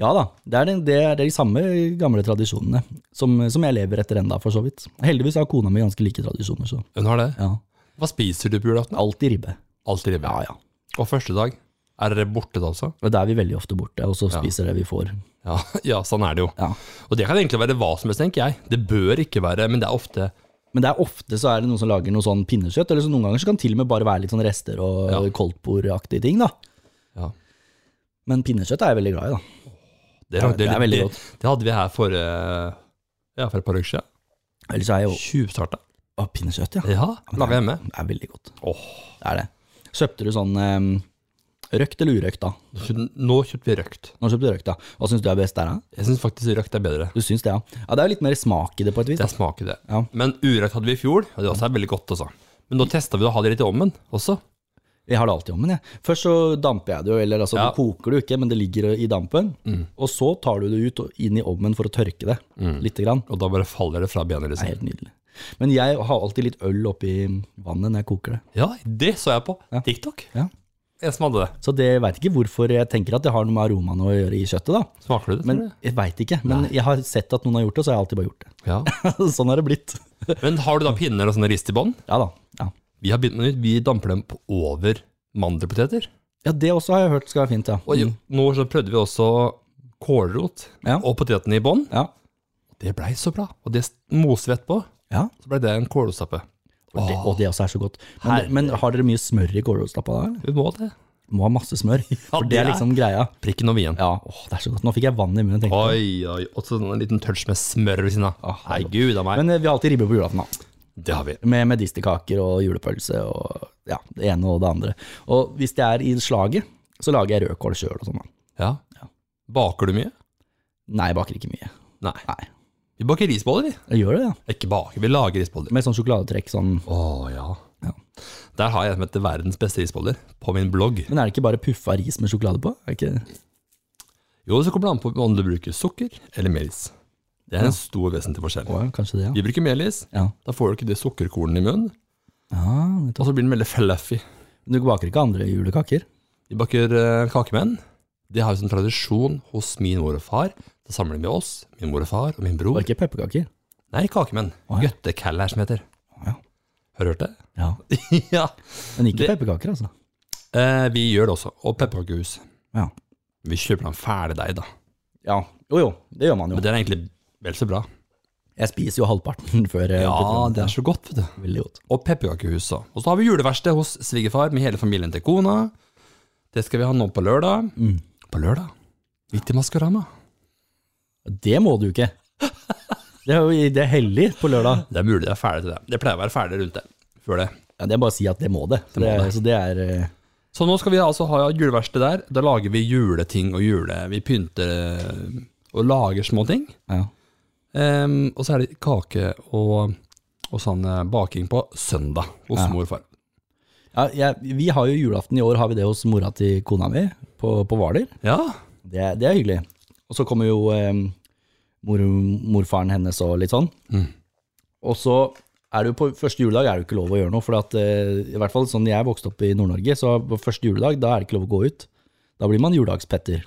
S1: ja da, det er, den, det er det er de samme gamle tradisjonene som, som jeg lever etter enda, for så vidt. Heldigvis har kona mi ganske like tradisjoner, så
S2: Hun har det.
S1: ja.
S2: Hva spiser du på julaften?
S1: Alltid ribbe.
S2: Alltid ribbe.
S1: Ja ja.
S2: Og første dag? Er dere borte da også?
S1: Og der er vi veldig ofte borte, og så spiser det vi får.
S2: Ja, ja, sånn er det jo.
S1: Ja.
S2: Og det kan egentlig være hva som helst, tenker jeg. Det bør ikke være, men det er ofte
S1: Men det er ofte så er det noen som lager noe sånn pinnekjøtt, eller så noen ganger så kan det til og med bare være litt sånn rester og
S2: Ja.
S1: koldtbordaktige ting, da.
S2: Ja.
S1: Men pinnekjøtt er jeg veldig glad i, da.
S2: Det,
S1: Ja, det er veldig
S2: det,
S1: godt.
S2: Det hadde vi her for, eh, ja, for et par uker siden.
S1: Ellers er jeg jo
S2: Tjuvstarta.
S1: Å, pinnekjøtt, ja.
S2: Ja, laga hjemme.
S1: Det er veldig godt.
S2: Åh,
S1: Det er det. Kjøpte du sånn eh, røkt eller urøkt, da?
S2: nå kjøpte vi røkt.
S1: Nå kjøpte du røkt, da. Hva syns du er best der, da?
S2: Jeg syns faktisk røkt er bedre.
S1: Du syns det, ja? Ja, Det er jo litt mer smak i det, på et vis.
S2: Det
S1: Da.
S2: smaker det.
S1: Ja. Mm.
S2: Men urøkt hadde vi i fjor, og det også er veldig godt. Også. Men nå testa vi å ha det litt i ovnen også.
S1: Jeg har det alltid i ovnen, jeg. Først så damper jeg det jo, eller altså,
S2: Ja. Mm.
S1: du koker det jo ikke, men det ligger i dampen. Og så tar du det ut og inn i ovnen for å tørke det lite grann.
S2: Og da bare faller det fra beina.
S1: Det er
S2: Liksom.
S1: helt nydelig. Men jeg har alltid litt øl oppi vannet når jeg koker det.
S2: Ja, det så jeg på TikTok.
S1: Ja.
S2: En som hadde det.
S1: Så det veit ikke hvorfor jeg tenker at det har noe med aromaen å gjøre i kjøttet, da.
S2: Smaker det det?
S1: Men
S2: tror du?
S1: jeg veit ikke. Men jeg har sett at noen har gjort det, så har jeg alltid bare gjort det.
S2: Ja.
S1: sånn har det blitt.
S2: Men har du da pinner og sånne rist i bånn?
S1: Ja da. Ja.
S2: Vi har begynt med nytt. Vi damper dem på over mandelpoteter.
S1: ja, det også har jeg hørt skal være fint, ja. Mm.
S2: Og jo, nå så prøvde vi også kålrot
S1: Ja.
S2: og potetene i bånn.
S1: Ja.
S2: Det blei så bra. Og det moser vi etterpå.
S1: ja.
S2: Så blei det en kålrotstappe.
S1: Og det, og det også er så godt. Men,
S2: Herre.
S1: men har dere mye smør i kålrotstappa da? eller?
S2: Vi må det.
S1: Må ha masse smør. For det
S2: det er-
S1: er liksom greia.
S2: Prikken over i-en.
S1: Ja, åh, det er så godt. Nå fikk jeg vann i munnen. tenkte jeg.
S2: Oi, oi. Og så en liten touch med smør ved siden av.
S1: Åh,
S2: Nei, gud a meg.
S1: Men eh, vi har alltid ribbe på julaften, da.
S2: det har vi.
S1: Med medisterkaker og julepølse og ja, det ene og det andre. Og hvis det er i slaget, så lager jeg rødkål sjøl og sånn. da.
S2: Ja. Baker du mye?
S1: Nei, jeg baker ikke mye.
S2: Nei.
S1: Nei.
S2: Vi baker risboller, vi.
S1: Jeg gjør det, ja.
S2: Ikke baker, vi lager risboller.
S1: Med sånn sjokoladetrekk sånn.
S2: Å ja.
S1: Ja.
S2: Der har jeg en som heter Verdens beste risboller, på min blogg.
S1: Men er det ikke bare puffa ris med sjokolade på? Er ikke...
S2: Jo, så kommer det an på om du bruker sukker eller melis. Det er en stor vesentlig forskjell.
S1: Å, ja, kanskje det, ja.
S2: Vi bruker melis,
S1: Ja,
S2: da får du ikke det sukkerkornet i munnen,
S1: ja nettopp.
S2: og så blir den veldig fluffy.
S1: Men Du baker ikke andre julekaker?
S2: Vi baker eh, kakemenn. Det har jo som tradisjon hos min mor og far. Da samler vi oss, min mor og far og min bror.
S1: Og ikke pepperkaker?
S2: Nei, kakemenn.
S1: ja.
S2: Gøttekall her som heter.
S1: ja.
S2: Har du hørt det?
S1: Ja.
S2: ja.
S1: Men ikke
S2: Det-
S1: pepperkaker, altså.
S2: Eh, vi gjør det også. Og pepperkakehus.
S1: Ja.
S2: Vi kjøper den ferdig deig, da.
S1: ja. Jo jo, det gjør man jo.
S2: Men det er egentlig vel så bra.
S1: Jeg spiser jo halvparten før eh,
S2: Ja,
S1: putter den.
S2: det er så godt, vet du.
S1: Veldig godt.
S2: Og pepperkakehus også. Og så har vi juleverksted hos svigerfar med hele familien til kona. Det skal vi ha nå på lørdag. På lørdag? Midt i Maskorama.
S1: Det må du ikke. Det er jo det er hellig på lørdag.
S2: Det er mulig det er ferdig til det. Det pleier å være ferdig rundt det. Før det.
S1: Ja, det er bare å si at det må det. Så det,
S2: må
S1: er-
S2: det.
S1: Så det er eh,
S2: Så nå skal vi altså ha juleverksted der. Da lager vi juleting og jule... Vi pynter eh, og lager små ting.
S1: ja.
S2: Ehm, og så er det kake og, og sånn eh, baking på søndag hos mor og far.
S1: Ja, jeg, vi har jo julaften i år har vi det hos mora til kona mi på, på Hvaler.
S2: Ja,
S1: Det, er- det er hyggelig. Og så kommer jo eh, mor, morfaren hennes og litt sånn.
S2: Mm.
S1: Og så er det jo på første juledag er det jo ikke lov å gjøre noe. For at, eh, i hvert fall sånn jeg vokste opp i Nord-Norge, så på første juledag da er det ikke lov å gå ut. Da blir man juldagspetter.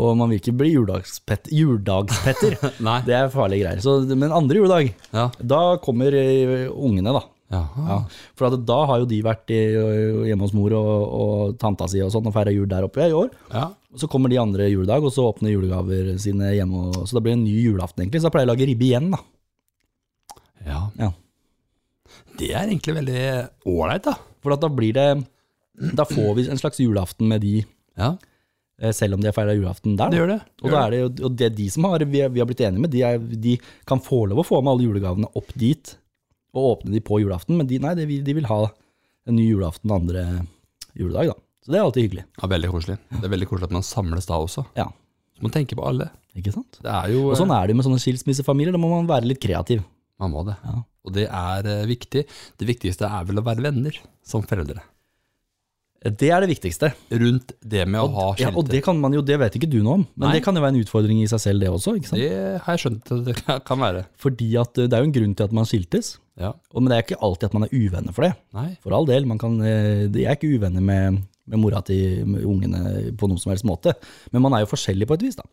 S1: Og man vil ikke bli juledagspetter. Juldagspetter!
S2: Nei.
S1: det er farlige greier. Så, men andre juledag,
S2: ja. Ah.
S1: da kommer eh, ungene, da.
S2: Jaha.
S1: Ja, for at da har jo de vært i, eh, hjemme hos mor og, og tanta si og sånn og feira jul der oppe i år.
S2: Ja.
S1: Og så kommer de andre juledag, og så åpner julegaver sine hjemme. Og, så da blir det en ny julaften, egentlig. Så da pleier jeg å lage ribbe igjen, da.
S2: ja.
S1: Ja.
S2: Det er egentlig veldig ålreit, da.
S1: For at da blir det Da får vi en slags julaften med de,
S2: Ja,
S1: eh, selv om de har feira julaften der. da.
S2: det gjør det.
S1: Og, da er det, jo- og det er de som har, vi, er, vi har blitt enige med, de, er, de kan få lov å få med alle julegavene opp dit, og åpne de på julaften, men de, nei, de, vil- de vil ha en ny julaften andre juledag, da. Så det er alltid hyggelig.
S2: Ja, veldig koselig. Det er veldig koselig at man samles da også.
S1: Ja,
S2: Så man tenker på alle.
S1: ikke sant?
S2: Det er jo eh,
S1: Og sånn er det jo med sånne skilsmissefamilier, da må man være litt kreativ.
S2: Man må det.
S1: Ja.
S2: Og det er eh, viktig. Det viktigste er vel å være venner som foreldre.
S1: Det er det viktigste.
S2: Rundt det med å ha
S1: Ja, og
S2: skilter.
S1: det kan man jo, det vet ikke du noe om, men
S2: Nei.
S1: det kan jo være en utfordring i seg selv det også, ikke sant?
S2: det har jeg skjønt at det kan- kan være.
S1: Fordi at eh, det er jo en grunn til at man skiltes,
S2: Ja.
S1: og, men det er ikke alltid at man er uvenner for det.
S2: Nei.
S1: For all del, man kan, eh, det- jeg er ikke uvenner med, med mora til med ungene på noen som helst måte, men man er jo forskjellig på et vis da.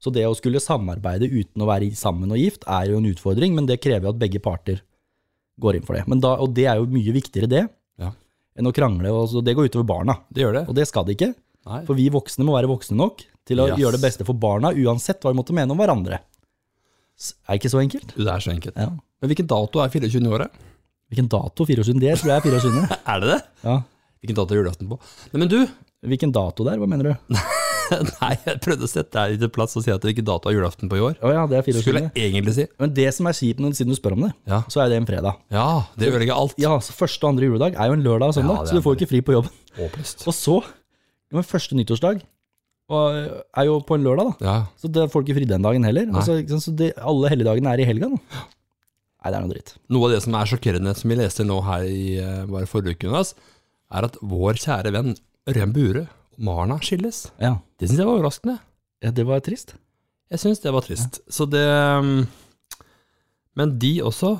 S1: Så det å skulle samarbeide uten å være i- sammen og gift er jo en utfordring, men det krever jo at begge parter går inn for det. Men da, og det er jo mye viktigere det,
S2: Ja.
S1: enn å krangle. Og så det går utover barna.
S2: Det gjør det.
S1: Og det skal det ikke.
S2: Nei.
S1: For vi voksne må være voksne nok til å
S2: Yes.
S1: gjøre det beste for barna, uansett hva vi måtte mene om hverandre. S- Er det ikke så enkelt?
S2: Det er så enkelt.
S1: Ja.
S2: Men hvilken dato er 24. i året?
S1: Hvilken dato? 24? Det tror jeg er 24.
S2: Er det det?
S1: Ja.
S2: Hvilken dato er julaften på? Nei, men du,
S1: Hvilken dato der? Hva mener du?
S2: nei, jeg prøvde å sette deg litt til plass og si at hvilken dato er julaften på i år.
S1: Å ja, det er 24.
S2: Skulle jeg egentlig si.
S1: Men det som er kjipt, når- siden du spør om det,
S2: Ja.
S1: så er det en fredag.
S2: Ja, det ødelegger alt.
S1: Ja, så Første og andre juledag er jo en lørdag og
S2: Ja,
S1: søndag,
S2: det
S1: så
S2: er
S1: du får jo ikke fri på jobben.
S2: Håpløst.
S1: Og så, ja, men første nyttårsdag og, øh, er jo på en lørdag, da.
S2: Ja,
S1: Så det får ikke fri den dagen heller. Altså, ikke sant, så det, alle helligdagene er i helga, da. Nei, det er noe dritt.
S2: Noe av det som er sjokkerende, som vi leste nå her i eh, bare forrige uke, Jonas, er at vår kjære venn Ørjan Bure og Marna skilles.
S1: Ja.
S2: Det syns jeg var overraskende.
S1: ja, det var trist.
S2: Jeg syns det var trist. Så det mm, Men de også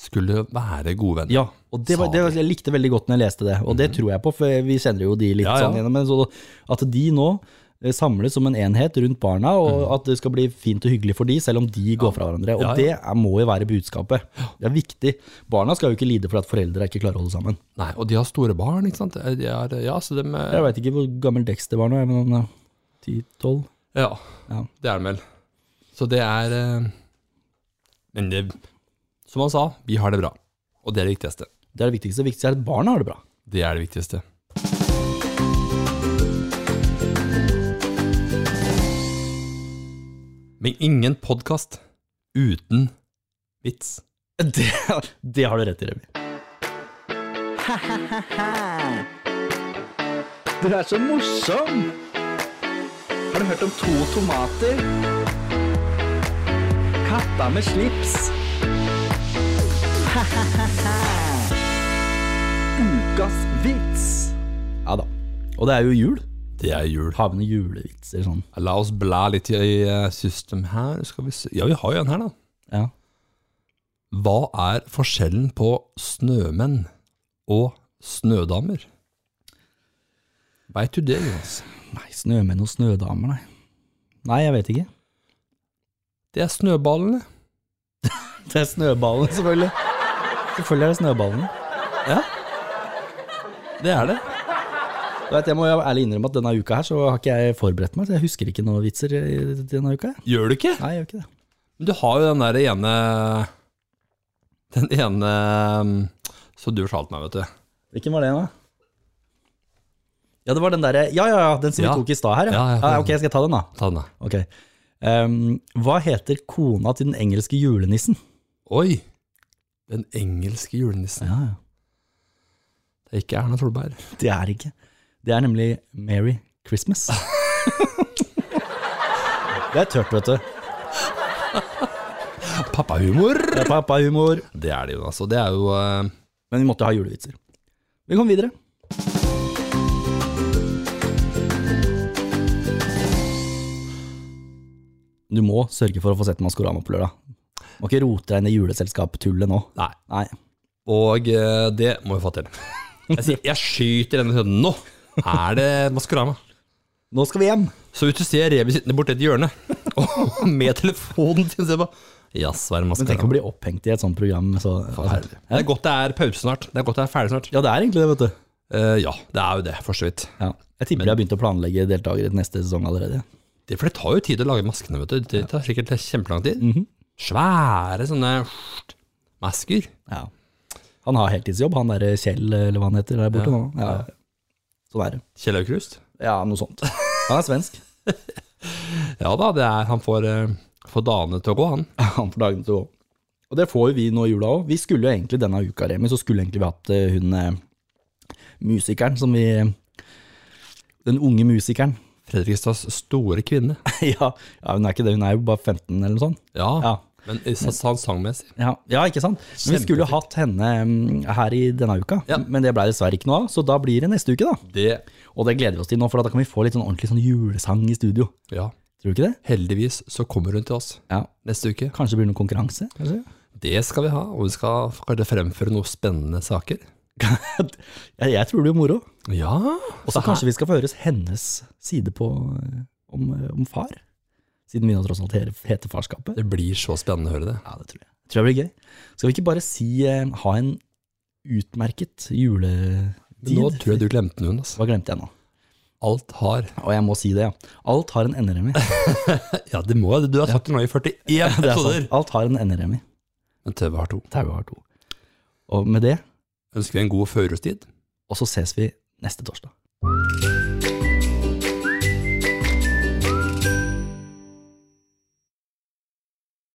S2: skulle være gode venner.
S1: Ja, og det var, det, var- jeg likte veldig godt når jeg leste det, og det tror jeg på, for vi kjenner jo de litt
S2: Mhm. Ja, ja.
S1: sånn gjennom. Men så, at de nå eh, samles som en enhet rundt barna, og at det skal bli fint og hyggelig for de, selv om de går fra hverandre. Og
S2: Mhm. Ja, ja.
S1: det er, må jo være budskapet. Det er viktig. Barna skal jo ikke lide for at foreldre ikke klarer å holde sammen.
S2: Nei, og de har store barn, ikke sant. De er, ja, så dem
S1: Jeg
S2: eh,
S1: veit ikke hvor gammel Dexter var nå, jeg, men han er 10-12?
S2: ja,
S1: Ja.
S2: det er de vel. Så det er eh, Men det Som han sa, vi har det bra. Og det er det viktigste.
S1: Det er det viktigste. Det viktigste er at barna har det bra.
S2: Det er det viktigste. Men ingen podkast uten vits.
S1: Det, det har du rett i, Remi. Du er så morsom! Har du hørt om to tomater? Katta med slips. Ukas vits. Ja da. Og det er jo jul.
S2: Det er jul.
S1: Har vi noen julevitser sånn?
S2: La oss bla litt i eh, system her. Skal vi se. Ja, vi har jo en her, da.
S1: Ja.
S2: Hva er forskjellen på snømenn og snødamer? Veit du det, Jonas?
S1: Nei, snømenn og snødamer, nei. Nei, jeg vet ikke.
S2: Det er snøballene.
S1: Det er snøballen, selvfølgelig. Selvfølgelig er det snøballen.
S2: Det er det.
S1: Du vet, jeg må jo ærlig innrømme at denne uka her så har ikke jeg forberedt meg. Så jeg husker ikke noen vitser i denne uka. jeg.
S2: Gjør du ikke?
S1: Nei, jeg gjør ikke det.
S2: Men Du har jo den der ene Den ene um, som du fortalte meg, vet du.
S1: Hvilken var det, da? Ja, det var den derre Ja, ja, ja, den som
S2: Ja.
S1: vi tok i stad her,
S2: Ja, ja,
S1: Ok, skal jeg ta den, da?
S2: Ta den, da.
S1: Ok. Ehm, hva heter kona til den engelske julenissen?
S2: Oi! Den engelske julenissen.
S1: Ja, ja.
S2: Det er ikke Erna Solberg.
S1: Det er ikke Det er nemlig Merry Christmas. det er tørt, vet du.
S2: Pappahumor!
S1: Det er pappahumor.
S2: Det er det jo, altså. Det er jo eh,
S1: Men vi måtte ha julevitser. Vi kommer videre. Du må sørge for å få sett Maskorama på lørdag. Må ikke rote deg inn i juleselskap-tullet nå.
S2: Nei.
S1: Nei.
S2: Og eh, det må vi få til. Jeg, sier, jeg skyter denne sønnen nå! Er det Maskorama?
S1: Nå skal vi hjem!
S2: Så ut du ser Remi sittende borti et hjørne, og med telefonen sin ser på. Jaså, er det
S1: Men tenk å
S2: Maskorama?
S1: bli opphengt i et sånt program. Så,
S2: Forferdelig. Det er godt det er pause snart. Det er godt det er ferdig snart.
S1: ja, det er egentlig det, vet du.
S2: Eh, ja, det er jo det, for så vidt.
S1: Ja. Jeg tipper de har begynt å planlegge deltakere til neste sesong allerede.
S2: Det, for det tar jo tid å lage maskene, vet du. Det tar sikkert kjempelang tid. Svære sånne masker.
S1: Ja. Han har heltidsjobb, han der Kjell, eller hva han heter, der borte nå. Ja. Sånn er det.
S2: Kjell Aukrust.
S1: Ja, noe sånt. Han er svensk.
S2: Ja da, det er, han får, eh, får dagene til å gå, han.
S1: han får dagene til å gå. Og det får jo vi nå i jula òg. Vi skulle jo egentlig denne uka, Remi, så skulle egentlig vi hatt eh, hun eh, musikeren som vi Den unge musikeren.
S2: Fredrikstads store kvinne.
S1: ja, ja, hun er ikke det, hun er jo bare 15 eller noe sånt.
S2: Ja,
S1: Ja.
S2: men eh, sa- sa han sangmessig.
S1: Ja, ja ikke sant? Men vi skulle jo hatt henne mm, her i denne uka,
S2: Ja.
S1: men det blei dessverre ikke noe av, så da blir det neste uke, da.
S2: Det,
S1: Og det gleder vi oss til nå, for da kan vi få litt sånn ordentlig sånn julesang i studio.
S2: ja.
S1: Tror du ikke det?
S2: Heldigvis så kommer hun til oss
S1: Ja.
S2: neste uke.
S1: Kanskje det blir noen konkurranse? Kanskje?
S2: Det skal vi ha, og vi skal kanskje fremføre noen spennende saker.
S1: jeg, jeg tror det blir moro.
S2: Ja,
S1: Og så kanskje vi skal få høres hennes side på, eh, om, eh, om far. Siden vi nå tross alt he- heter farskapet.
S2: det blir så spennende å høre det.
S1: Ja, det tror jeg. Tror jeg blir gøy. Skal vi ikke bare si eh, ha en utmerket juleuke?
S2: Men Nå tror jeg du glemte noen. Altså.
S1: Hva glemte jeg nå?
S2: Alt har
S1: Og jeg må si det, ja. Alt har en enderemi.
S2: Ja, det må jeg. Du har sagt det nå i 41
S1: Det er
S2: episoder.
S1: sant. Alt har en enderemi.
S2: Men TV har to.
S1: Tauet har to. Og med det,
S2: Ønsker vi en god førjulstid?
S1: og så ses vi neste torsdag.